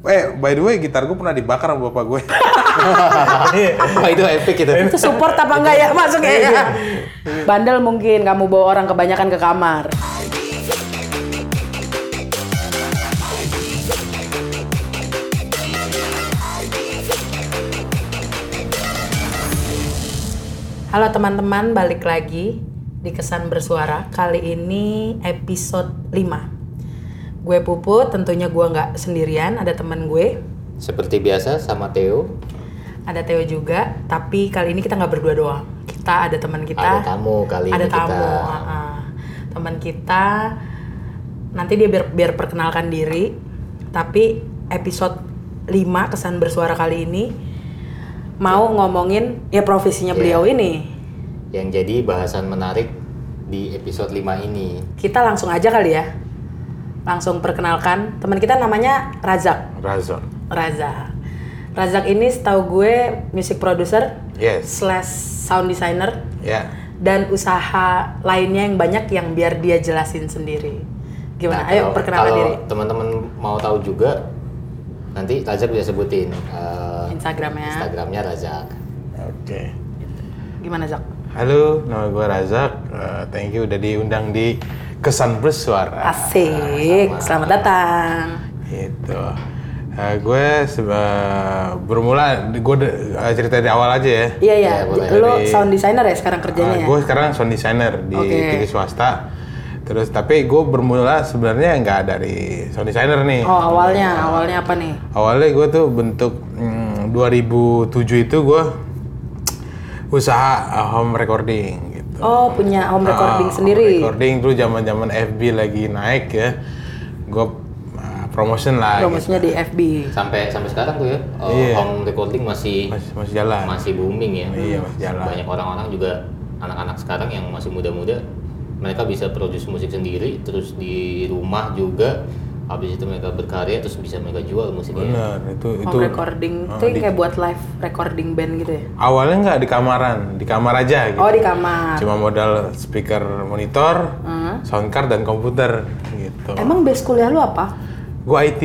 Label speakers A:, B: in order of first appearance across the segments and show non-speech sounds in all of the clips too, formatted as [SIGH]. A: Eh, by the way, gitar gue pernah dibakar sama bapak gue.
B: Wah itu epic itu.
C: Itu support apa enggak ya masuk ya? Bandel mungkin kamu bawa orang kebanyakan ke kamar.
D: Halo teman-teman, balik lagi di Kesan Bersuara. Kali ini episode 5. Gue Puput, tentunya gue nggak sendirian, ada teman gue,
B: Seperti biasa sama Theo
D: ada Theo juga. Tapi kali ini kita nggak berdua doang. Kita ada teman
B: ada
D: kita.
B: tamu kali
D: ada
B: ini
D: tamu.
B: kita.
D: ah. Teman kita. Nanti dia biar, biar perkenalkan diri. Tapi episode 5 Kesan Bersuara kali ini mau ngomongin ya profesinya beliau
B: Iya.
D: ini.
B: Yang jadi bahasan menarik di episode 5 ini.
D: kita langsung aja kali ya langsung perkenalkan teman kita namanya Razak
A: Razon.
D: Razak Razak ini setahu gue music producer
A: Yes.
D: slash sound designer
A: Ya.
D: dan usaha lainnya yang banyak yang biar dia jelasin sendiri gimana
B: Nah,
D: ayo
B: kalau-
D: perkenalkan
B: kalau
D: diri
B: teman-teman mau tahu juga nanti Razak bisa sebutin eh,
D: Instagramnya
B: Instagramnya Razak.
A: Oke.
D: gimana Zak
A: Halo, nama gue Razak. Eh, thank you udah diundang di Kesan Bersuara.
D: asik selamat datang
A: Gitu. Eh, gue seba- bermula, gue de- eh, cerita dari awal aja ya.
D: iya iya
B: Ya, boleh.
D: lo sound designer ya sekarang kerjanya
A: Ah,
D: ya
A: gue sekarang sound designer di
D: Oke.
A: TV swasta. Terus tapi gue bermula sebenarnya nggak dari sound designer nih.
D: oh awalnya awalnya apa nih
A: Awalnya gue tuh bentuk mm, 2007 itu gue usaha uh, home recording gitu.
D: oh punya home recording
A: Ah,
D: sendiri
A: Home recording dulu zaman zaman FB lagi naik ya. Gue ah, promotion lah. gitu.
D: promosinya di FB
B: Sampai sampai sekarang tuh ya eh,
A: Iya.
B: home recording masih
A: Masih, masih jalan.
B: masih booming ya.
A: Iya, masih jalan.
B: Banyak orang-orang juga anak-anak sekarang yang masih muda-muda mereka bisa produce musik sendiri terus di rumah juga habis itu mereka berkarya terus bisa mereka jual musiknya.
A: Bener itu itu
D: home recording itu yang kayak buat live recording band gitu ya
A: awalnya nggak di kamaran, di kamar aja gitu.
D: oh di kamar
A: Cuma modal speaker monitor, sound card dan komputer gitu.
D: emang base kuliah lu apa [LAUGHS]
A: Gue IT,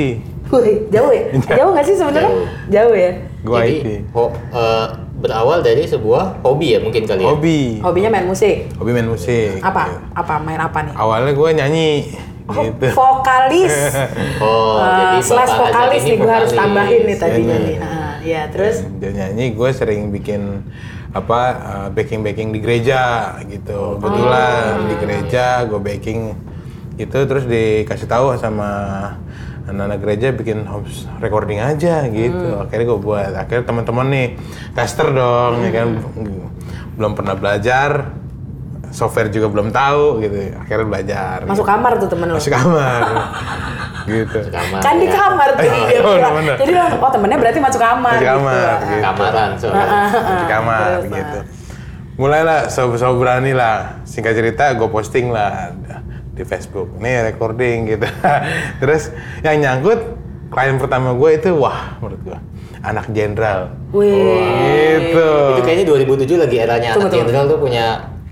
D: Wih, jauh ya jauh nggak sih sebenarnya
B: Jauh.
D: jauh ya
A: gue
B: Jadi
A: IT.
B: ho- eh, berawal dari sebuah hobi ya mungkin kali ya.
A: Hobi,
D: hobinya main musik
A: hobi main musik. gitu.
D: apa apa main apa nih
A: Awalnya gue nyanyi
D: Oh,
A: gitu.
D: vokalis
A: [LAUGHS]
B: Oh,
D: Eh,
B: jadi
D: slash
B: Bapak Razak
D: vokalis
B: ini
D: nih gue harus
B: vokalis.
D: tambahin nih tadinya
A: Iya.
D: nih Ah, Iya, terus
A: Dia nyanyi, gue sering bikin apa uh, backing backing di gereja
D: Oh,
A: gitu. Kebetulan di gereja gue backing gitu terus dikasih tahu sama anak-anak gereja bikin home recording aja
D: Hmm.
A: gitu. Akhirnya gue buat. Akhirnya teman-teman nih tester dong ya kan
D: Hmm.
A: belum pernah belajar software juga belum tahu gitu. Akhirnya belajar. gitu.
D: masuk kamar tuh temen lu
A: Masuk
D: [LAUGHS]
A: kamar. gitu.
B: Kamar,
D: kan di
B: ya.
D: kamar tuh dia
A: Oh,
D: bilang.
A: bener.
D: jadi lu, oh temennya berarti masuk kamar,
A: Masuk
D: gitu.
A: kamar,
D: Ah.
A: gitu.
B: Kamaran soalnya.
A: di kamar
D: terus,
A: gitu. Mulailah sob-sob berani lah. Singkat cerita gue posting lah di Facebook. Nih recording gitu. [LAUGHS] Terus yang nyangkut klien pertama gue itu wah menurut gue anak jenderal.
D: Wih,
A: Gitu.
B: Itu kayaknya 2007 lagi eranya
D: Tunggu, tunggu.
B: anak jenderal tuh punya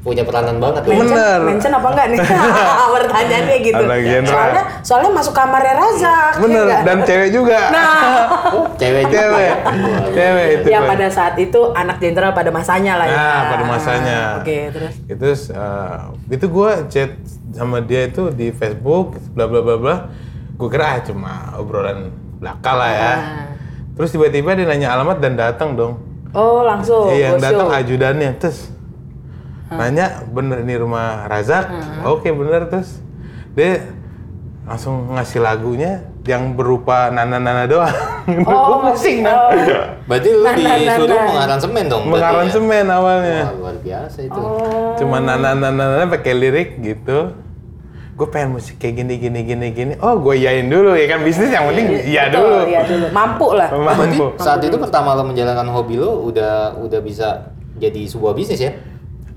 B: punya peranan banget tuh.
A: Bener.
D: Mention, mention apa enggak
A: [LAUGHS]
D: nih? [LAUGHS] Pertanyaannya gitu.
A: Anak general.
D: Soalnya soalnya masuk kamarnya Razak. ya
A: Bener
D: enggak?
A: dan cewek juga.
D: Nah,
B: Oh, cewek juga.
A: cewek.
B: Wah,
A: cewek itu.
D: ya
A: Pak.
D: pada saat itu anak jenderal pada masanya lah ya. Ah,
A: Nah, pada masanya.
D: Oke, terus
A: Itu eh, itu gue chat sama dia itu di Facebook bla bla bla bla. Gue kira ah, cuma obrolan belaka lah
D: Ah.
A: ya. Terus tiba-tiba dia nanya alamat dan datang dong.
D: Oh langsung.
A: Iya, yang
D: go
A: datang
D: show. Ah.
A: ajudannya terus nanya bener ini rumah Razak. Oke bener terus dia langsung ngasih lagunya yang berupa nana-nana doang. [LAUGHS]
D: Oh,
A: Gua pusing
D: oh.
A: kan.
B: Berarti lu
D: Nah, nah, nah,
B: disuruh
D: nah.
B: mengaransemen dong. berarti
A: Mengaransemen awalnya.
D: Oh,
B: ya? Wah, luar biasa itu.
A: cuma nana nana pakai lirik gitu gue pengen musik kayak gini gini gini gini oh gue yain dulu ya kan bisnis yang penting iya
D: Betul,
A: dulu
D: Iya dulu. Mampu lah.
B: Berarti
A: mampu
B: saat itu pertama lo menjalankan hobi lo udah udah bisa jadi sebuah bisnis ya?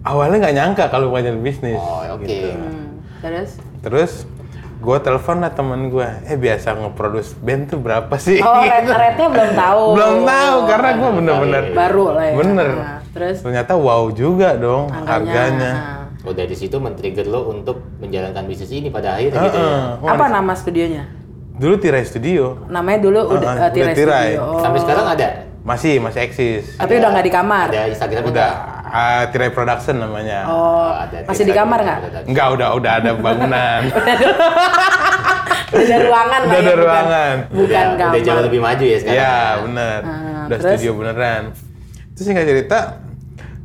A: awalnya nggak nyangka kalau ngajar bisnis
B: Oh, oke.
A: Gitu.
D: Hmm,
A: [LAUGHS]
D: Terus?
A: terus gue telepon lah temen gue eh biasa ngeproduce band tuh berapa sih [LAUGHS]
D: Oh, red rednya belum tahu.
A: belum tahu karena gue bener-bener
D: Baru lah ya.
A: bener
D: Nah, terus
A: ternyata wow juga dong
D: angkanya,
A: harganya
D: nah.
B: Oh,
D: Iya,
B: dari situ men-trigger lo untuk menjalankan bisnis ini pada akhirnya gitu ya.
A: Heeh.
D: Apa nama studionya?
A: Dulu Tirai Studio.
D: Namanya dulu udah
A: Ah, ah,
D: eh, tirai,
A: udah tirai.
D: studio. Oh.
B: Sampai sekarang ada.
A: Masih, masih eksis.
D: Tapi udah nggak di kamar.
B: Ada Instagram
A: Udah ah, Tirai Production namanya.
D: Oh,
B: ada
D: masih di
B: Instagram,
D: kamar
B: [LAUGHS]
D: nggak?
B: ada.
A: Enggak, udah udah ada
D: [LAUGHS]
A: bangunan.
D: Ada ruangan lah
A: udah
D: ya,
A: ada
D: bukan-
A: ruangan.
D: Bukan
B: Iya, udah, udah jauh
D: kamar.
B: lebih maju ya sekarang.
A: Iya, bener.
D: Ah,
A: Udah
D: terus?
A: studio beneran. Terus nggak cerita,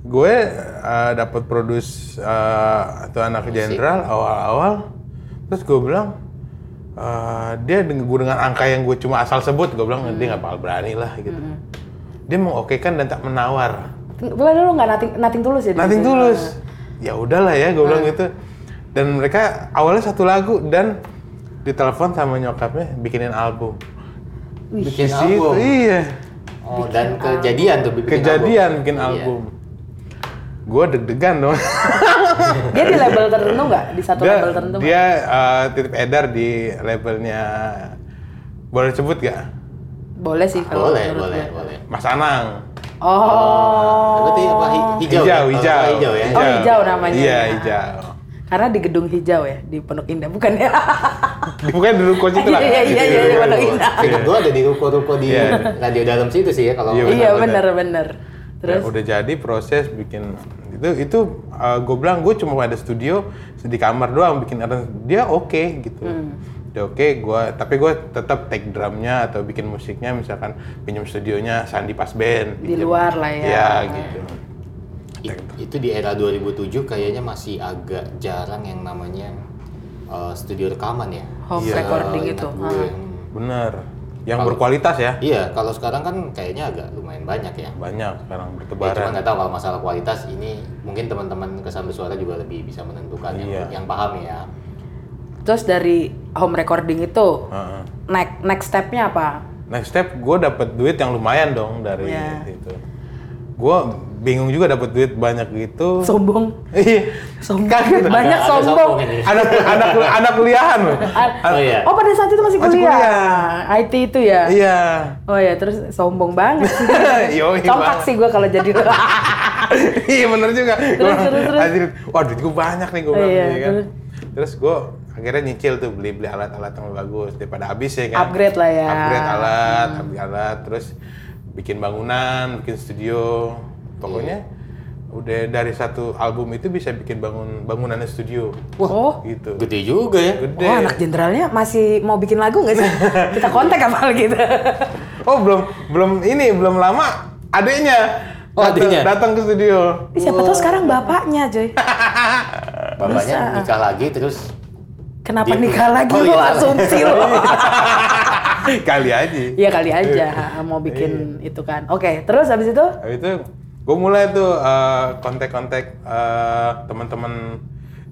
A: gue eh, dapat produs eh, atau anak jenderal awal-awal. Terus gue bilang, eh, dia dengan, gue dengan angka yang gue cuma asal sebut, gue bilang
D: Hmm.
A: dia nggak bakal berani lah gitu. Dia mau oke kan dan tak menawar.
D: Bukan dulu nggak nating nating tulus ya? di
A: Nothing
D: situ?
A: tulus. Ya udahlah ya, gue
D: Hmm.
A: bilang gitu. Dan mereka awalnya satu lagu dan ditelepon sama nyokapnya bikinin album.
B: Bikin
A: Di situ,
B: album.
A: iya.
B: Oh, dan kejadian tuh bikin
A: kejadian
B: album.
A: bikin
B: Iya.
A: album. Gue deg-degan dong.
D: Dia di label tertentu nggak? Di satu
A: dia
D: label tertentu? nggak?
A: dia eh, titip edar di labelnya boleh sebut gak?
D: Boleh sih kalau
B: Boleh,
D: menurut
B: boleh,
D: gue.
B: boleh.
A: Mas Anang.
D: Oh.
B: Berarti apa hi- hijau? ya?
A: Hijau,
B: Kalau
A: hijau.
B: nggak hijau ya.
D: Oh, hijau namanya.
A: Iya, hijau.
D: Karena di gedung hijau ya di Pondok Indah bukan ya?
A: Di- Bukan dulu coach itu
D: [LAUGHS] Iya,
A: lah.
D: iya, iya, iya,
A: Di
D: Pondok
A: ruko.
D: Indah.
A: Iya.
B: Ingat gua ada di ruko-ruko di
A: Iya.
B: radio dalam situ sih ya kalau
A: Iya,
D: Iya
A: benar,
D: benar benar.
A: Ya,
D: Terus
A: udah jadi proses bikin itu itu gue bilang gue cuma ada studio di kamar doang bikin arrange dia oke gitu
D: Hmm.
A: dia oke gua tapi gue tetap take drumnya atau bikin musiknya misalkan pinjam studionya Sandi Pas Band
D: di luar lah ya.
A: ya gitu
B: I- itu di era 2007 kayaknya masih agak jarang yang namanya uh, studio rekaman ya.
D: Home
B: Se-
D: recording
B: ingat
D: itu. Ah.
B: gue yang-
A: bener yang berkualitas ya
B: Iya, kalau sekarang kan kayaknya agak lumayan banyak ya.
A: banyak sekarang
B: Ya, cuma
A: bertebaran
B: nggak tahu kalau masalah kualitas ini mungkin teman-teman kesambi suara juga lebih bisa menentukan yang-
A: Iya.
B: yang, paham ya.
D: Terus dari home recording itu
A: Heeh.
D: next next stepnya apa?
A: next step gue dapet duit yang lumayan dong dari
D: Iya.
A: itu gue bingung juga dapet duit banyak gitu
D: Sombong.
A: iya
D: Sombong. Banyak
B: Ada- ada
D: sombong.
B: sombong ini.
A: anak anak anak kuliahan loh.
D: Ah,
B: Oh iya.
D: Oh pada saat itu masih
A: Masih
D: kuliah.
A: kuliah.
D: IT itu ya.
A: iya [LAUGHS]
D: Oh ya, terus sombong banget.
A: Yoi
D: Congkak
A: banget.
D: sih gue kalau
A: [LAUGHS]
D: jadi. Oh,
A: iya bener juga
D: Terus, terus, terus.
A: Anjir, wah duit gue banyak nih gue
D: Oh,
A: bilang gitu
D: iya,
A: kan
D: terus.
A: terus gue akhirnya nyicil tuh beli beli alat-alat yang bagus daripada habis ya kan
D: Upgrade lah ya.
A: upgrade alat upgrade alat terus bikin bangunan bikin studio pokoknya udah dari satu album itu bisa bikin bangun bangunannya studio
D: oh,
A: gitu
B: Gede juga ya.
A: gede
D: Wah, anak jenderalnya masih mau bikin lagu nggak sih? Kita kontak apa [LAUGHS] gitu.
A: oh belum belum ini belum lama adiknya
B: Oh,
A: datang-
B: adiknya.
A: datang ke studio
D: Ih, Siapa tahu sekarang bapaknya, Joy.
B: Bapaknya
D: Bisa.
B: nikah lagi terus
D: Kenapa
B: Dia-
D: nikah lagi
B: Oh,
D: lo
B: iya.
D: asumsi
A: [LAUGHS]
D: lo?
A: kali aja
D: Iya kali aja mau
A: Iya.
D: bikin itu kan. Oke, terus habis itu?
A: Habis itu gue mulai tuh eh, kontak-kontak eh, teman-teman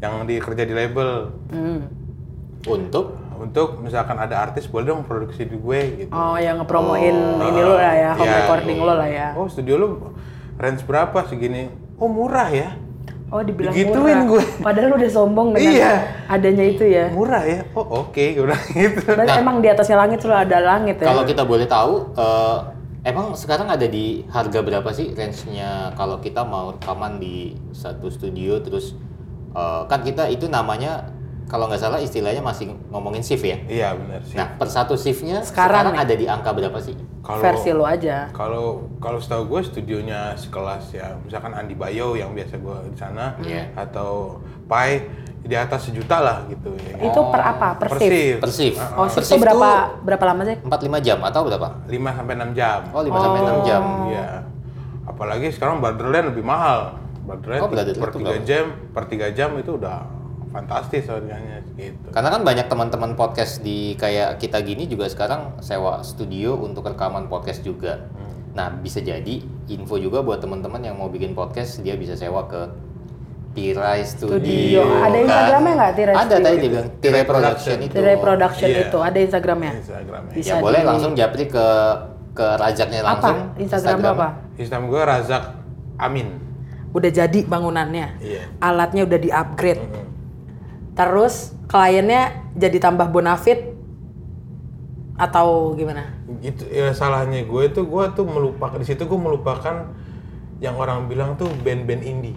A: yang di kerja di label
D: Hmm.
B: untuk
A: untuk misalkan ada artis boleh dong produksi di gue gitu.
D: Oh, yang ngepromoin ini lo lah ya,
A: Oh.
D: home
A: Iya.
D: recording lo lah ya.
A: Oh studio lu range berapa segini? Oh murah ya,
D: Oh, dibilang
A: Digituin
D: murah.
A: gue.
D: Padahal lo udah sombong dengan
A: Iya.
D: adanya itu ya.
A: murah ya. Oh oke, gue bilang gitu.
D: Berarti emang di atasnya langit sudah ada langit ya.
B: kalau kita boleh tahu eh, emang sekarang ada di harga berapa sih range-nya kalau kita mau rekaman di satu studio terus eh, kan kita itu namanya kalau nggak salah istilahnya masih ngomongin shift ya.
A: Iya benar sih.
B: Nah, per satu shiftnya
D: Sekarang
B: sekarang,
D: nih.
B: ada di angka berapa sih?
A: Kalau-
D: Versi lo aja.
A: Kalau kalau setahu gue studionya sekelas ya, misalkan Andi Bayo yang biasa gue di sana,
B: Iya.
A: atau Pai di atas sejuta lah gitu. Ya.
B: Iya,
A: kan?
D: Itu per apa? Per shift?
A: shift.
B: Per shift.
D: Oh,
B: Per
D: shift itu
B: shift
D: berapa
B: tuh-
D: berapa lama sih?
B: 4-5 jam atau berapa?
A: 5 sampai 6 jam.
B: Oh, 5 sampai 6 jam.
A: Iya. Apalagi sekarang Borderland lebih mahal. Borderland
B: Oh, Borderland
A: per
B: tuh
A: 3
B: berapa?
A: jam, per 3 jam itu udah fantastis harganya gitu.
B: Karena kan banyak teman-teman podcast di kayak kita gini juga sekarang sewa studio untuk rekaman podcast juga. Nah, bisa jadi info juga buat teman-teman yang mau bikin podcast dia bisa sewa ke Tirai Studio.
D: Studio. Ada
B: kan?
D: Instagramnya nggak, Tirai
B: Ada
D: Studio?
B: tadi dia bilang Tirai Production itu.
D: Tirai Production
A: Iya.
D: itu ada Instagramnya.
A: Instagramnya.
D: Bisa
B: Ya boleh
D: di-
B: langsung japri ke ke rajaknya
D: Apa?
B: langsung.
D: Instagram, lo apa?
A: Iya, Instagram gue Razak Amin.
E: udah jadi bangunannya
A: Iya. Mm-hmm.
E: alatnya udah di upgrade terus kliennya jadi tambah bonafit atau gimana
A: Itu ya, salahnya gue itu gue tuh melupakan di situ gue melupakan yang orang bilang tuh band-band indie.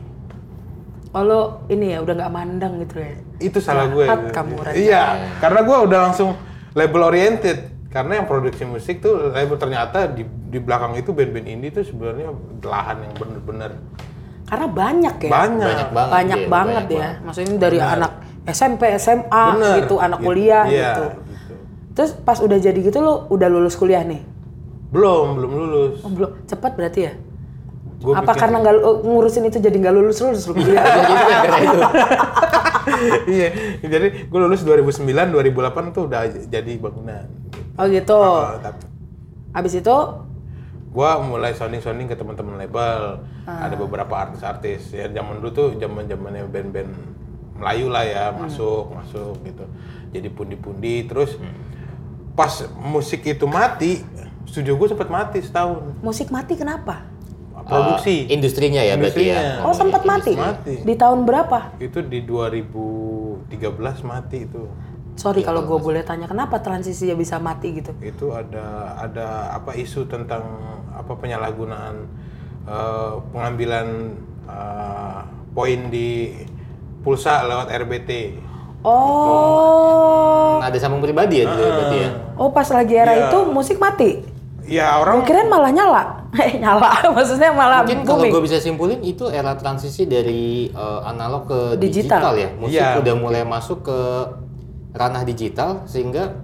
E: oh lo ini ya udah nggak mandang gitu ya
A: Itu salah gue.
E: Jahat kamu, Razak.
A: Iya, karena gue udah langsung label oriented karena yang produksi musik tuh label ternyata di di belakang itu band-band indie tuh sebenarnya lahan yang bener-bener
D: Karena banyak
A: banyak.
D: ya.
B: Banyak banget.
D: Banyak
B: Iya,
D: banget
B: banyak
D: ya. Maksudnya dari anak SMP, SMA
A: Bener.
D: gitu, anak kuliah
A: Iya,
D: gitu.
A: gitu.
D: Terus pas udah jadi gitu lo udah lulus kuliah nih.
A: Belum, belum lulus.
D: Oh, belum cepat berarti ya?
A: Gua
D: Apa
A: bikin-
D: karena nggak lu- ngurusin itu jadi nggak lulus lulus lu kuliah?
A: [LAUGHS] Iya, jadi gue lulus 2009, 2008 tuh udah j- jadi bangunan.
D: oh gitu.
A: Oh, tapi
D: Abis itu
A: gue mulai sounding-sounding ke teman-teman label. Ada beberapa artis-artis. Ya zaman dulu tuh zaman-zamannya band-band Melayu lah ya, masuk, masuk gitu. Jadi pundi-pundi terus pas musik itu mati, studio gue sempat mati setahun.
D: musik mati kenapa?
B: [LAUGHS]
A: Produksi.
B: Eh, industrinya ya berarti ya.
A: Industrinya.
D: Oh sempat mati.
A: Nah, mati.
D: Di tahun berapa?
A: itu di 2013 mati itu.
D: Sorry kalau gue boleh tanya kenapa transisinya bisa mati gitu?
A: itu ada ada apa isu tentang apa penyalahgunaan eh, pengambilan eh, poin di pulsa lewat RBT.
D: Oh,
B: Ada sambung pribadi ya dulu berarti ya.
D: oh pas lagi era
A: Iya.
D: itu musik mati.
A: Ya
D: Gua
A: orang
D: kirain malah nyala. [LAUGHS] Eh nyala, maksudnya malah
B: Mungkin
D: Um,
B: kalau
D: booming. Oh,
B: gue bisa simpulin itu era transisi dari eh, analog ke
D: Digital.
B: digital, ya. Musik
A: Iya,
B: udah mulai masuk ke ranah digital sehingga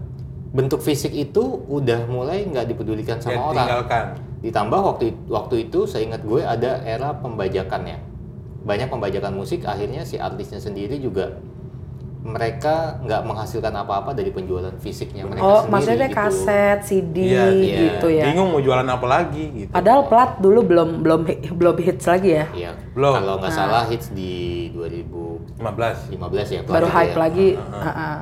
B: bentuk fisik itu udah mulai nggak dipedulikan
A: ya,
B: sama orang.
A: tinggalkan.
B: Ditambah waktu it- waktu itu seingat gue ada era pembajakan ya. Banyak pembajakan musik akhirnya si artisnya sendiri juga mereka nggak menghasilkan apa-apa dari penjualan fisiknya mereka
D: Oh,
B: sendiri.
D: maksudnya
B: gitu.
D: kaset, CD
A: Iya, iya.
D: gitu ya.
A: Bingung mau jualan apa lagi gitu.
D: Padahal plat dulu belum belum belum hits lagi ya.
B: Iya.
A: Belum.
B: Kalau nggak
D: Nah.
B: salah hits di 2015
A: 15.
B: ya. kalau
D: Baru
B: gitu
D: hype
B: ya.
D: lagi. Heeh.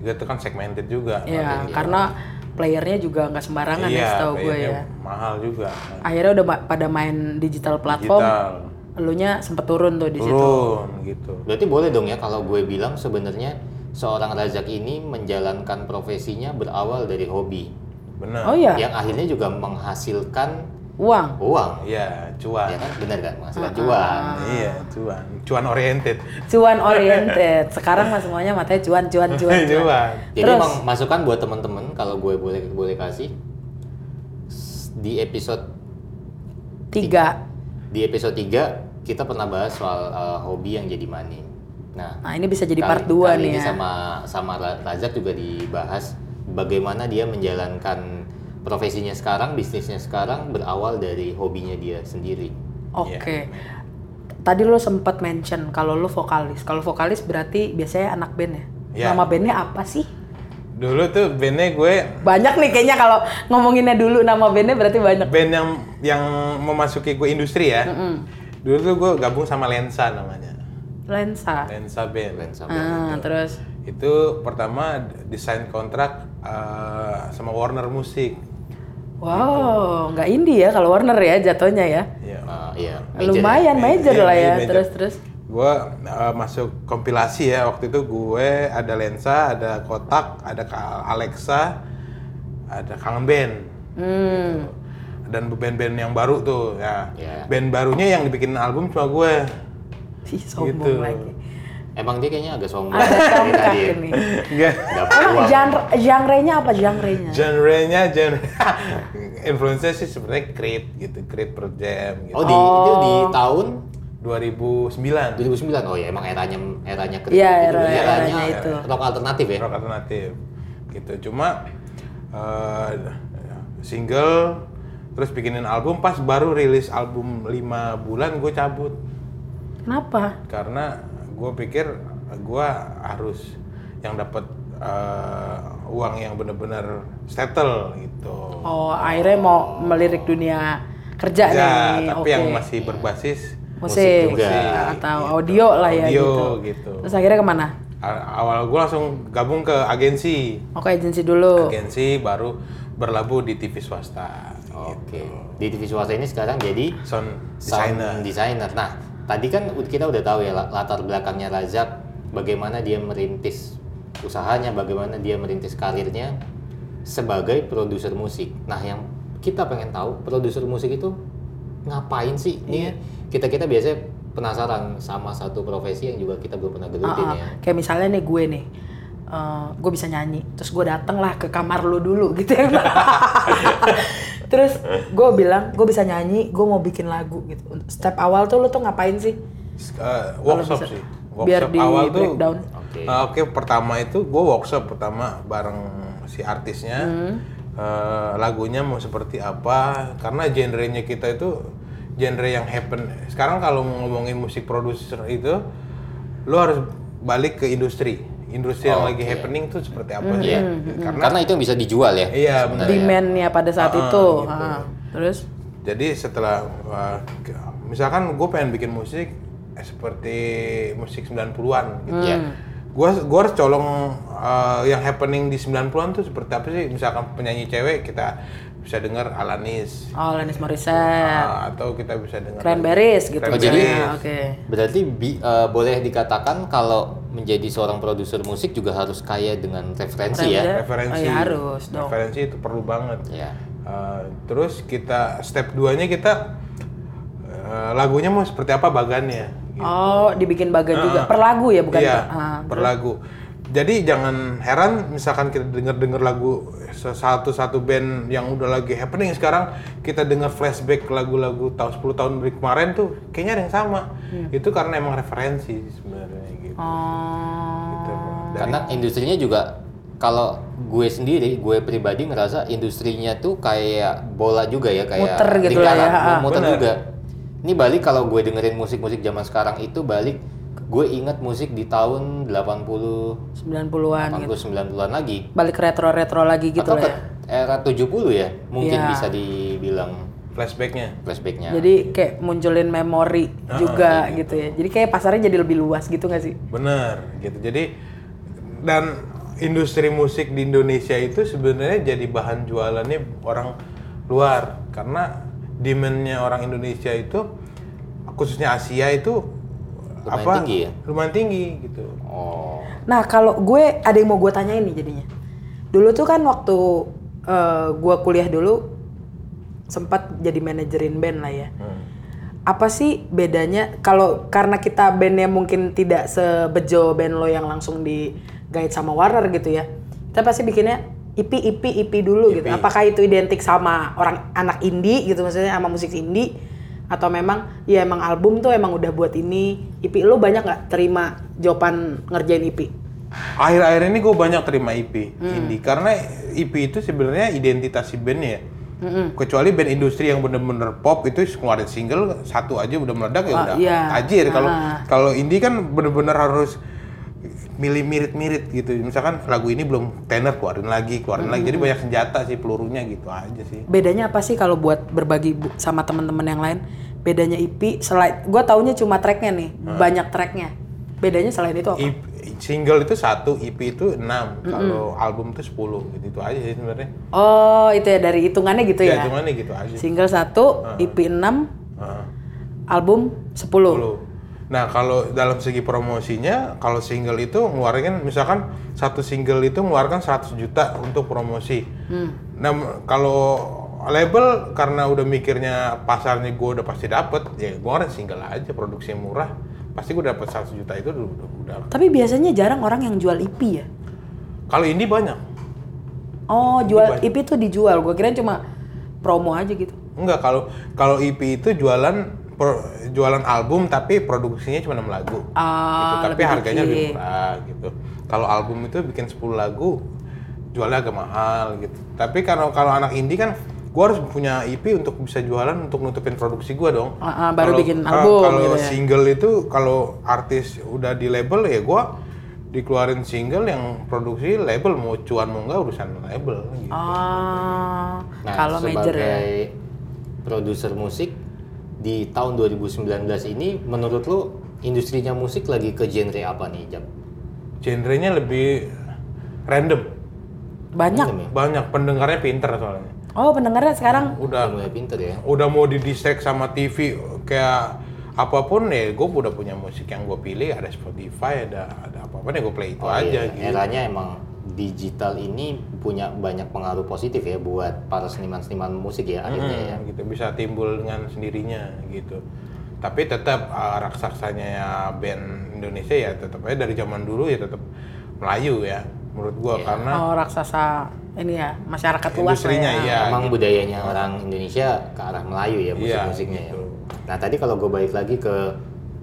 A: Juga itu kan segmented juga. Iya,
D: Iya, karena playernya juga nggak sembarangan
B: Iya,
D: ya setahu gue
A: kayaknya
D: ya.
A: Mahal juga.
D: Akhirnya udah ma- pada main digital platform,
A: Digital.
D: elunya sempet turun tuh di situ.
A: Turun gitu.
B: Berarti boleh dong ya kalau gue bilang sebenarnya seorang Razak ini menjalankan profesinya berawal dari hobi
A: Benar.
D: Oh iya,
B: yang akhirnya juga menghasilkan
D: uang.
B: uang.
A: Iya, cuan.
B: Ya kan benar kan
D: Ah,
B: menghasilkan cuan.
A: Iya, cuan. Cuan oriented.
B: [LAUGHS]
D: Cuan oriented. Sekarang mah semuanya matanya cuan, cuan, cuan.
B: Iya.
D: cuan.
A: [LAUGHS] cuan.
B: Jadi
D: Terus?
B: emang masukan buat teman-teman kalau gue boleh boleh kasih s- di episode
D: Tiga.
B: di episode 3 kita pernah bahas soal uh, hobi yang jadi money. Nah,
D: Nah ini bisa jadi
B: kali-
D: part 2
B: kali
D: nih
B: ini
D: ya.
B: sama sama Ra- Razak juga dibahas bagaimana dia menjalankan profesinya sekarang, bisnisnya sekarang berawal dari hobinya dia sendiri.
A: Iya,
D: Oke. Tadi lo sempat mention kalau lo vokalis. Kalau vokalis berarti biasanya anak band ya.
A: Iya.
D: Nama bandnya apa sih?
A: Dulu tuh bandnya gue
D: Banyak nih kayaknya kalau ngomonginnya dulu nama bandnya berarti banyak.
A: band yang yang memasuki gue industri ya. Dulu tuh gue gabung sama Lensa namanya.
D: Lensa.
A: Lensa Band.
B: Keren sama.
D: Ah, terus
A: Itu pertama desain kontrak eh, sama Warner Music. Gitu.
D: wow, nggak indie ya kalau Warner ya jatuhnya ya.
A: Ya.
B: Uh, iya, major ya.
D: Lumayan major
A: Iya,
D: lah ya.
A: major.
D: Terus terus.
A: Gue eh, masuk kompilasi ya waktu itu gue ada Lensa, ada Kotak, ada Ka- Alexa, ada Kangen Band.
D: Hmm.
A: Dan band-band yang baru tuh ya.
B: Iya.
A: Band barunya yang dibikin album cuma gue.
D: Ih, sombong
A: Gitu. [LAUGHS]
D: lagi.
B: Emang dia kayaknya agak sombong.
D: Agak
B: Dari
D: congkak
B: tadi
A: Iya.
B: ya.
D: ini.
A: Enggak.
B: Dapat
D: Emang
B: uang.
D: genre genre-nya apa genre-nya?
A: genre-nya genre [LAUGHS] influence sih sebenarnya Creed gitu Creed per jam gitu
B: Oh, di, itu di tahun
A: 2009
B: 2009. Oh ya, emang eranya eranya keren.
D: Iya,
B: Itu
D: era-
B: eranya
D: eranya itu.
B: Rock alternatif ya.
A: rock alternatif gitu cuma eh, single terus bikinin album pas baru rilis album 5 bulan gue cabut
D: Kenapa?
A: karena gue pikir gue harus yang dapat eh, uang yang bener-bener settle gitu
D: Oh, akhirnya mau melirik dunia kerja
A: ya,
D: nih.
A: tapi
D: Oke.
A: yang masih berbasis
D: musik,
B: juga.
D: atau audio lah ya
A: Gitu. Audio,
D: gitu.
A: gitu.
D: Terus akhirnya kemana?
A: A- awal gue langsung gabung ke agensi
D: Oke, agensi dulu.
A: agensi baru berlabuh di TV swasta
D: Oh.
B: Oke. Di TV swasta ini sekarang jadi
A: sound
B: desainer.
A: designer
B: designer. Nah, tadi kan kita udah tahu ya la- latar belakangnya Razak, bagaimana dia merintis usahanya, bagaimana dia merintis karirnya sebagai produser musik. Nah, yang kita pengen tahu produser musik itu ngapain sih? Ini kita kita biasanya penasaran sama satu profesi yang juga kita belum pernah
D: Ah,
B: gelutin
D: ah.
B: ya.
D: Kayak misalnya nih gue nih gue bisa nyanyi terus gue dateng lah ke kamar lu dulu gitu ya [LAUGHS] terus gue bilang gue bisa nyanyi gue mau bikin lagu gitu step awal tuh lu tuh ngapain sih
A: Eh, workshop
D: bisa.
A: sih.
D: Biar
A: Workshop
D: di
A: awal tuh.
D: breakdown.
B: Oke.
A: Oke. Oke, pertama itu gue workshop pertama bareng si artisnya.
D: Hmm.
A: Eh, lagunya mau seperti apa? Karena genrenya kita itu genre yang happen. Sekarang kalau ngomongin musik produser itu, lo harus balik ke industri. Industri yang lagi happening tuh seperti apa
D: Hmm.
A: sih?
B: Iya. Karena, itu yang bisa dijual ya.
A: Iya, benar.
D: demandnya pada
A: Ah,
D: saat itu
A: gitu.
D: Ah, terus
A: Jadi setelah uh, ke- misalkan gue pengen bikin musik eh, seperti musik 90-an
D: Hmm.
A: gitu.
B: Iya.
A: Gue gua harus colong uh, yang happening di 90-an tuh seperti apa sih? Misalkan penyanyi cewek kita bisa dengar Alanis
D: oh Alanis Morissette
A: uh, atau kita bisa dengar
D: Cranberries gitu
A: Oh,
B: jadi-
D: misalnya. oke
B: Berarti bi- eh, boleh dikatakan kalau menjadi seorang produser musik juga harus kaya dengan referensi ya.
A: referensi.
D: Oh, ya harus dong. Ya.
A: Referensi itu perlu banget.
B: Iya.
A: Uh, terus kita step 2-nya kita uh, lagunya mau seperti apa bagannya gitu. Ah,
D: oh dibikin bagan juga per lagu ya bukan
A: iya,
D: per- ah.
A: per lagu. Jadi jangan heran misalkan kita denger-denger lagu satu-satu band yang udah lagi happening sekarang kita denger flashback lagu-lagu tahun 10 tahun dari kemarin tuh kayaknya ada yang sama.
D: Iya.
A: Itu karena emang referensi sebenarnya gitu.
D: oh
A: Gitu. Dan-
B: Karena industrinya juga kalau gue sendiri, gue pribadi ngerasa industrinya tuh kayak bola juga ya, kayak
D: Muter gitu lah ya,
B: lingkaran,
D: ah.
B: muter
A: Bener.
B: juga. Ini balik kalau gue dengerin musik-musik zaman sekarang itu balik gue inget musik di tahun 80
D: 90-an gitu
B: 80-90-an lagi.
D: balik ke retro-retro lagi gitu
B: Atau
D: lah
B: ke
D: ya.
B: era 70 ya, mungkin
D: Iya.
B: bisa dibilang
A: flashbacknya
B: flashbacknya.
D: Jadi kayak munculin memori juga gitu ya. Jadi kayak pasarnya jadi lebih luas gitu nggak sih?
A: Bener gitu. Jadi dan industri musik di Indonesia itu sebenarnya jadi bahan jualannya orang luar karena demandnya orang Indonesia itu khususnya Asia itu
B: Lumayan
A: apa
B: tinggi ya?
A: lumayan tinggi gitu.
B: Oh,
D: Nah kalau gue ada yang mau gue tanyain nih jadinya. Dulu tuh kan waktu eh, gue kuliah dulu sempat jadi manajerin band lah ya. Apa sih bedanya kalau karena kita bandnya mungkin tidak sebejo band lo yang langsung di guide sama Warner gitu ya. Kita pasti bikinnya IP IP IP dulu gitu. Apakah itu identik sama orang anak indie gitu maksudnya sama musik indie atau memang ya emang album tuh emang udah buat ini IP lo banyak nggak terima jawaban ngerjain IP?
A: Akhir-akhir ini gue banyak terima IP
D: Hmm.
A: indie karena IP itu sebenarnya identitas si bandnya ya. Kecuali band industri yang bener-bener pop itu ngeluarin single satu aja udah meledak ya
D: Oh,
A: udah
D: iya.
A: tajir. Kalau
D: Ah.
A: kalau indie kan bener-bener harus milih mirip-mirip gitu. Misalkan lagu ini belum tenor keluarin lagi, keluarin lagi. Jadi banyak senjata sih pelurunya gitu aja sih.
D: bedanya apa sih kalau buat berbagi bu- sama teman-teman yang lain bedanya IP selain gue taunya cuma tracknya nih banyak tracknya bedanya selain itu apa?
A: IP single itu satu, IP itu enam. Kalau album itu sepuluh gitu itu aja sih sebenarnya.
D: oh itu ya dari hitungannya gitu ya,
A: Hitungannya Ah. gitu aja. Ah.
D: single 1 IP 6
A: Heeh.
D: album 10
A: dulu. Nah, kalau dalam segi promosinya, kalau single itu ngeluarin misalkan satu single itu mengeluarkan 100 juta untuk promosi. Nah, m- kalau label karena udah mikirnya pasarnya gue udah pasti dapet, ya gue ngeluarin single aja produksi murah, pasti gue dapet 100 juta itu udah. udah- udah.
D: tapi biasanya jarang orang yang jual IP ya
A: Kalau ini banyak.
D: oh jual IP tuh dijual gue kira cuma promo aja gitu
A: Enggak, kalau kalau EP itu jualan pro- jualan album tapi produksinya cuma 6 lagu. gitu.
D: Ah,
A: tapi
D: lebih
A: harganya lebih
D: dikit.
A: murah gitu. Kalau album itu bikin 10 lagu jualnya agak mahal gitu. Tapi kalau kalau anak indie kan gua harus punya EP untuk bisa jualan untuk nutupin produksi gua dong.
D: Ah, ah,
A: Kalau-
D: baru bikin
A: ah,
D: album
A: Kalau
D: gitu ya.
A: single itu kalau artis udah di label ya gua dikeluarin single yang produksi label mau cuan mau enggak urusan label gitu.
D: oh
B: nah
D: kalau
B: sebagai
D: major ya
B: produser musik di tahun 2019 ini menurut lu industrinya musik lagi ke genre apa nih, Jam?
A: Genrenya lebih random.
D: banyak
A: Hmm.
B: Random ya?
A: Banyak pendengarnya pinter soalnya.
D: oh pendengarnya sekarang
A: Udah
B: Udah mulai pinter ya.
A: udah mau didistract sama TV kayak apapun ya gue udah punya musik yang gue pilih ada Spotify ada ada apa apa nih gue play itu
B: Oh,
A: aja
B: iya.
A: gitu
B: Eranya emang digital ini punya banyak pengaruh positif ya buat para seniman-seniman musik ya akhirnya ya.
A: Hmm, gitu bisa timbul dengan sendirinya gitu tapi tetap uh, raksasanya ya band Indonesia ya tetap aja dari zaman dulu ya tetap Melayu ya menurut gua karena
D: Oh, raksasa ini ya, masyarakat luas lah
A: industrinya
D: ya.
A: iya
B: Emang budayanya orang Indonesia ke arah Melayu ya
A: Iya,
B: musik-musiknya ya.
A: gitu.
B: Nah tadi kalau gue balik lagi ke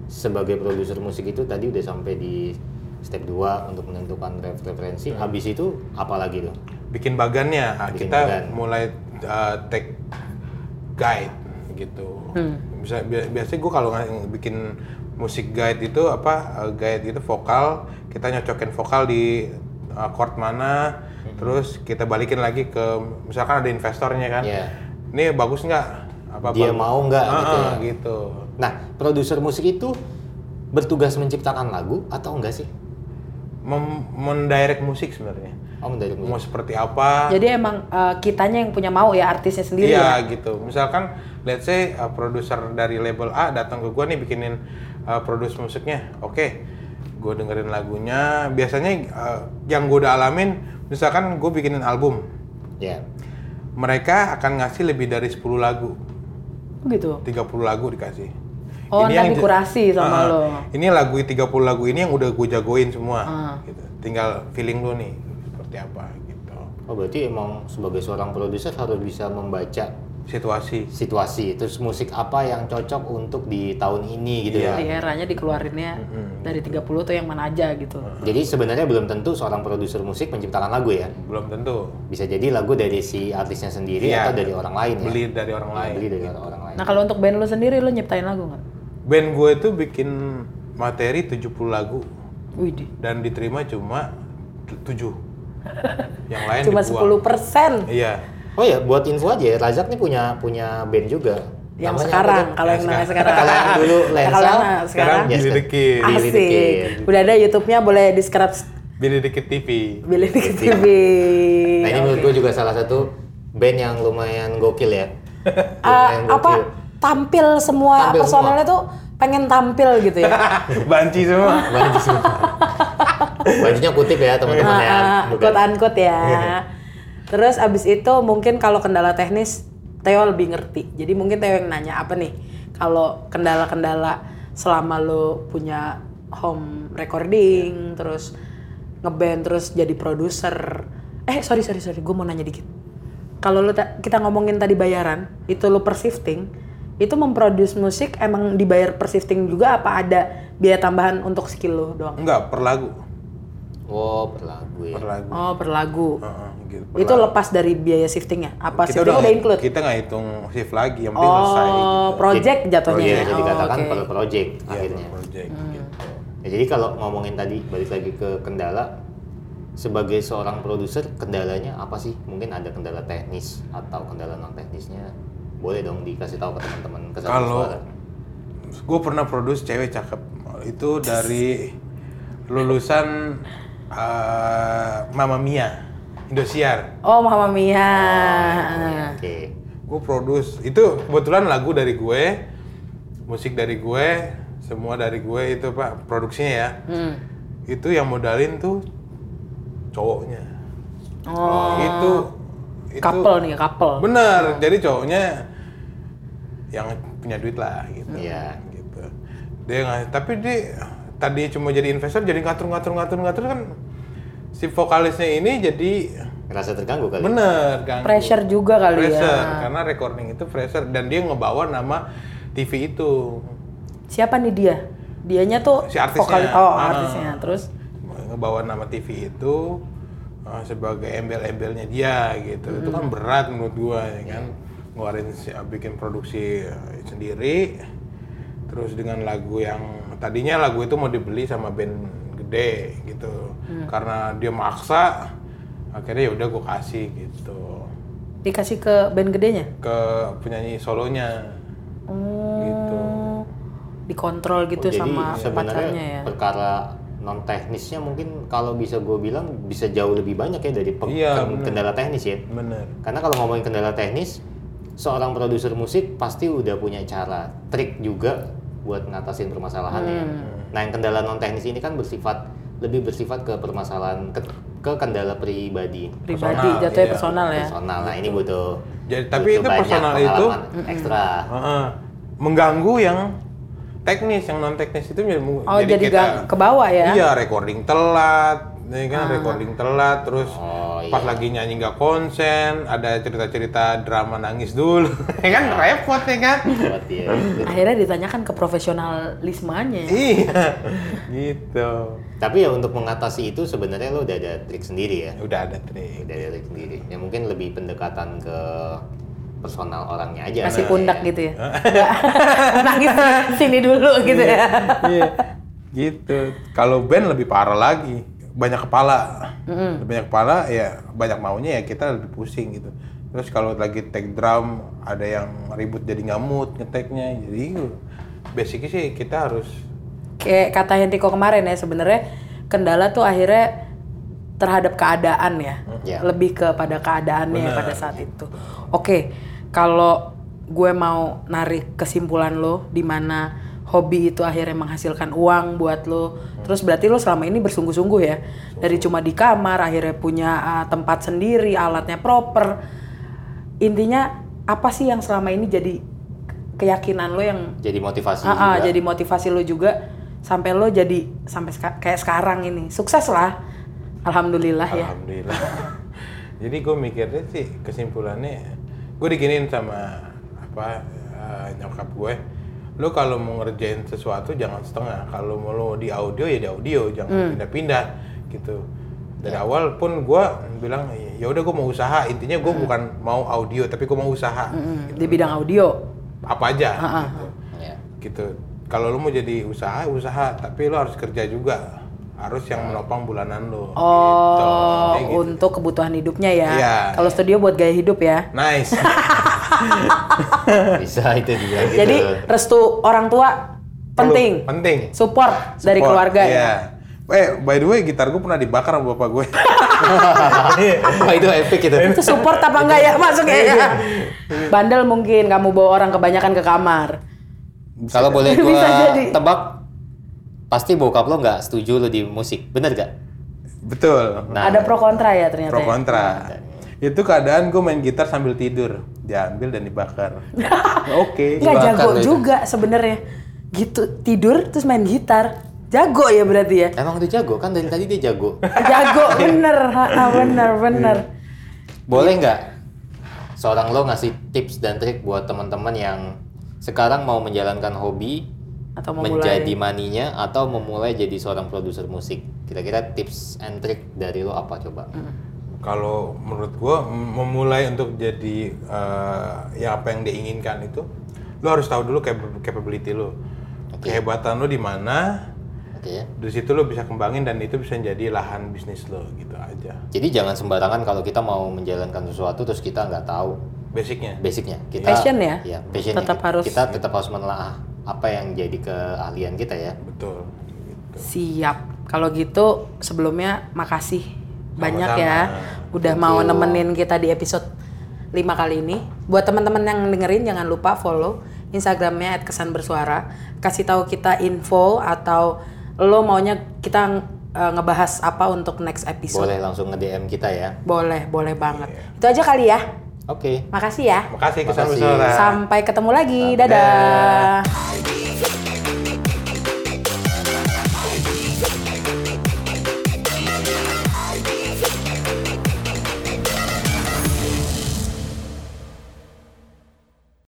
B: sebagai produser musik itu tadi udah sampai di step 2 untuk menentukan ref- referensi.
A: Hmm.
B: Habis itu apa lagi tuh?
A: bikin bagannya Ah,
B: Bikin
A: kita
B: bagan.
A: mulai uh, take guide gitu bisa bi- biasanya gue kalau nge- bikin musik guide itu apa uh, guide itu vokal kita nyocokin vokal di uh, chord mana
B: Hmm.
A: terus kita balikin lagi ke misalkan ada investornya kan
B: Iya.
A: ini bagus nggak apa
B: Dia mau nggak gitu
A: gitu,
B: ya? Nah produser musik itu bertugas menciptakan lagu atau enggak sih?
A: Mem- mendirect musik sebenarnya
B: Om dari musik.
A: mau seperti apa
D: Jadi emang eh, kitanya yang punya mau ya artisnya sendiri ya.
A: Iya gitu. Misalkan let's say uh, produser dari label A datang ke gua nih bikinin uh, produce musiknya. Oke. Gue dengerin lagunya. Biasanya uh, yang gue udah alamin misalkan gue bikinin album.
B: Ya.
A: Mereka akan ngasih lebih dari 10 lagu.
D: Gitu.
A: 30 lagu dikasih.
D: Oh, ntar
A: yang-
D: dikurasi sama
A: Ah,
D: lo.
A: Ini lagu 30 lagu ini yang udah gue jagoin semua.
D: Uh-uh.
A: Gitu. Tinggal feeling lo nih seperti apa gitu.
B: Oh berarti emang sebagai seorang produser harus bisa membaca
A: Situasi.
B: situasi terus musik apa yang cocok untuk di tahun ini gitu ya.
D: Di eranya dikeluarinnya dari 30 tuh yang mana aja gitu.
B: Jadi sebenarnya belum tentu seorang produser musik menciptakan lagu ya.
A: Belum tentu.
B: Bisa jadi lagu dari si artisnya sendiri
A: Iya.
B: atau dari orang lain ya.
A: Beli dari orang lain.
B: Beli dari orang lain.
D: Nah, kalau untuk band lo sendiri lo nyiptain lagu nggak?
A: band gue itu bikin materi 70 lagu
D: Widih.
A: dan diterima cuma 7 yang lain
D: Cuma
A: dibuang.
D: 10 persen
A: iya
B: Oh ya, buat info aja ya, Razak nih punya punya band juga.
D: yang
B: Namanya
D: sekarang.
B: apa tuh?
D: Kalau yang
A: Yang
D: namanya
B: Nah,
D: sekarang.
B: kalau yang dulu
D: Nah,
B: Lensa, ya,
D: kalau yang sekarang,
A: sekarang Billy the Kid
B: Billy the
D: asik.
B: Kid. gitu.
D: Udah ada YouTube-nya boleh di subscribe
A: Billy the Kid TV
D: Billy the Kid TV.
B: Nah, ini menurut gue juga salah satu band yang lumayan gokil
D: [LAUGHS]
B: ya.
D: Ah,
B: Lumayan
D: apa
B: gokil.
D: tampil semua
B: Tampil
D: personelnya tuh pengen tampil gitu ya.
A: banci semua
B: Baju semua. Bajunya kutip ya,
D: Ah,
B: teman-teman ya. Bukan.
D: Angkut angkut [LAUGHS] ya. Terus abis itu mungkin kalau kendala teknis Teo lebih ngerti. Jadi mungkin Teo yang nanya apa nih kalau kendala-kendala selama lo punya home recording terus ngeband terus jadi produser. Eh sorry sorry sorry, gue mau nanya dikit. Kalau lo ta- kita ngomongin tadi bayaran, itu lo per shifting, itu memproduce musik emang dibayar per shifting juga apa ada biaya tambahan untuk skill lo doang?
A: enggak per lagu
B: Oh, per lagu ya.
A: per lagu
D: Oh per lagu.
A: Heeh, gitu, per
D: itu
A: lagu.
D: lepas dari biaya shiftingnya apa
A: kita
D: shiftingnya
A: udah
D: udah, include
A: kita nggak hitung shift lagi yang penting selesai
D: oh
A: gitu.
D: project jatuhnya
B: Project,
D: ya?
B: jadi
D: Oh,
B: katakan
D: oke.
B: per project
A: Iya,
B: akhirnya.
A: project gitu.
B: Ya, jadi kalau ngomongin tadi balik lagi ke kendala, sebagai seorang produser kendalanya apa sih? Mungkin ada kendala teknis atau kendala non teknisnya? Boleh dong dikasih tahu ke teman-teman ke Satu
A: Kalau
B: Suara.
A: gue pernah produce cewek cakep itu dari lulusan eh, Mamma Mia Indosiar.
D: oh Mama Mia Ah,
B: Oke.
A: gue produce itu kebetulan lagu dari gue musik dari gue semua dari gue itu pak produksinya ya
D: Hmm.
A: itu yang modalin tuh cowoknya
D: oh
A: itu itu
D: couple nih couple
A: bener jadi cowoknya yang punya duit lah gitu
B: Iya.
A: gitu dia nggak tapi dia tadi cuma jadi investor jadi ngatur ngatur ngatur ngatur kan si vokalisnya ini jadi
B: Ngerasa terganggu kali. ya?
A: bener kan
D: pressure juga kali
A: pressure kan.
D: ya
A: karena recording itu pressure dan dia ngebawa nama TV itu
D: siapa nih dia dianya tuh
A: Si artisnya.
D: vokal- oh
A: Ah.
D: artisnya terus
A: ngebawa nama TV itu uh, sebagai embel-embelnya dia gitu itu kan
D: Hmm.
A: berat menurut gua ya kan ngeluarin si- eh, bikin produksi uh, sendiri terus dengan lagu yang tadinya lagu itu mau dibeli sama band gede gitu
D: Hmm.
A: karena dia maksa akhirnya ya udah gua kasih gitu
D: dikasih ke band gedenya
A: ke penyanyi solonya
D: oh
A: Gitu.
D: dikontrol gitu
B: Oh, jadi
D: sama
B: sebenarnya
D: pacarnya ya
B: perkara non teknisnya mungkin kalau bisa gue bilang bisa jauh lebih banyak ya dari pe-
A: Iya,
B: ken-
A: bener.
B: kendala teknis ya.
A: bener
B: Karena kalau ngomongin kendala teknis, seorang produser musik pasti udah punya cara, trik juga buat ngatasin permasalahannya. ya.
D: Hmm.
B: Nah, yang kendala non teknis ini kan bersifat lebih bersifat ke permasalahan ke, ke kendala pribadi,
D: pribadi
A: personal,
D: jatuhnya
A: iya.
D: personal ya
B: personal. Nah, ini butuh
A: Jadi, tapi
B: butuh
A: itu
B: banyak
A: personal itu-
B: pengalaman ekstra.
A: Heeh. mengganggu yang teknis yang non teknis itu menjadi,
D: oh jadi
A: kita
D: gang ke bawah ya
A: iya recording Iya, telat Ini kan recording telat, terus
B: Oh,
A: pas lagi nyanyi nggak konsen, ada cerita-cerita drama nangis dulu, [LAUGHS] ya kan repot ya kan?
B: buat dia gitu.
D: Akhirnya ditanyakan ke profesionalismenya.
A: iya, gitu.
B: Tapi ya untuk mengatasi itu sebenarnya lo udah ada trik sendiri ya.
A: Udah ada trik.
B: Udah ada trik sendiri. Ya mungkin lebih pendekatan ke personal orangnya aja.
D: Kasih
B: Nah,
D: pundak
B: ya.
D: gitu ya. [LAUGHS] Nangis sini dulu gitu ya.
A: Iya, gitu. Kalau band lebih parah lagi, banyak kepala, banyak kepala ya banyak maunya ya kita lebih pusing gitu. Terus kalau lagi take drum ada yang ribut jadi ngamut ngeteknya, jadi gitu. basicnya sih kita harus
D: kayak kata Hendriko kemarin ya sebenarnya kendala tuh akhirnya terhadap keadaan ya
B: Ya.
D: lebih kepada keadaannya pada saat itu oke kalau gue mau narik kesimpulan lo di mana hobi itu akhirnya menghasilkan uang buat lo terus berarti lo selama ini bersungguh-sungguh ya dari cuma di kamar akhirnya punya ah, tempat sendiri alatnya proper intinya apa sih yang selama ini jadi keyakinan lo yang
B: Jadi motivasi
A: Iya.
D: Ah, ah,
B: juga.
D: jadi motivasi lo juga sampai lo jadi sampai seka- kayak sekarang ini sukses lah alhamdulillah ya
A: Alhamdulillah. [LAUGHS] Jadi gue mikirnya sih kesimpulannya gue diginiin sama apa eh, nyokap gue. Lu kalau mau ngerjain sesuatu jangan setengah. Kalau mau lo di audio ya di audio, jangan pindah-pindah gitu. Dari awal pun gue bilang ya udah gue mau usaha. Intinya gue bukan mau audio tapi gue mau usaha.
D: Mm, di bidang audio
A: Apa aja gitu.
B: Ya.
A: Gitu. Kalau lu mau jadi usaha, usaha, tapi lu harus kerja juga. Harus yang menopang bulanan lu. Gitu.
D: oh
A: Kayak gitu.
D: untuk kebutuhan hidupnya ya
A: Iya.
D: kalau studio buat gaya hidup ya
A: Nice.
B: Bisa itu juga gitu.
D: jadi restu orang tua penting
A: Perlu- penting.
D: support, dari
A: Support,
D: keluarga
A: iya.
D: ya
A: Eh, by the way, gitar gue pernah dibakar sama bapak gue.
B: Wah, itu epic itu.
D: itu support
A: [LAUGHS]
D: apa enggak ya masuknya
A: Iya.
D: ya bandel mungkin kamu bawa orang kebanyakan ke kamar
B: Kalau
D: [LAUGHS]
B: boleh
D: Bisa
B: gua
D: jadi.
B: tebak pasti bokap lo nggak setuju lo di musik, bener gak?
A: [LAUGHS] Betul.
B: Nah.
D: ada pro kontra ya ternyata
A: Pro
D: ya?
A: kontra. Itu keadaan gue main gitar sambil tidur, diambil dan
D: [LAUGHS]
A: dibakar. Oke.
D: nggak Iya,
B: Dibakar
D: jago
B: lo itu.
D: juga sebenarnya gitu tidur terus main gitar jago ya berarti ya
B: Emang dia jago kan dari tadi dia jago. [LAUGHS]
D: jago
B: Iya.
D: bener ha, ha, bener bener
B: Boleh nggak seorang lo ngasih tips dan trik buat teman-teman yang sekarang mau menjalankan hobi
D: atau mau
B: menjadi
D: mulai
B: maninya atau memulai jadi seorang produser musik? Kira-kira tips and trick dari lo apa coba?
A: Kalau menurut gue mem- memulai untuk jadi eh, ya apa yang diinginkan itu, lo harus tahu dulu cap- capability lo, kehebatan lo di mana.
B: Oke.
A: Di situ lo bisa kembangin dan itu bisa jadi lahan bisnis lo gitu aja.
B: Jadi jangan sembarangan kalau kita mau menjalankan sesuatu terus kita nggak tahu
A: Basicnya.
B: basicnya. Kita
D: Passion ya?
B: Iya, passionnya.
D: Tetap harus-
B: kita tetap harus menelaah apa yang jadi keahlian kita ya.
A: Betul.
D: siap kalau gitu sebelumnya makasih banyak
A: Sama-sama.
D: ya udah
B: Thank
D: mau
B: you.
D: nemenin kita di episode 5 kali ini buat teman-teman yang dengerin jangan lupa follow instagramnya @kesanbersuara kasih tahu kita info atau lo maunya kita eh, ngebahas apa untuk next episode
B: Boleh langsung nge-DM kita ya.
D: Boleh, boleh banget. Itu aja kali ya.
B: Oke.
D: Makasih ya.
A: Makasih kesan
B: Makasih.
A: Iya. bersaudara.
D: Sampai ketemu lagi. Dadah.
A: Dadah.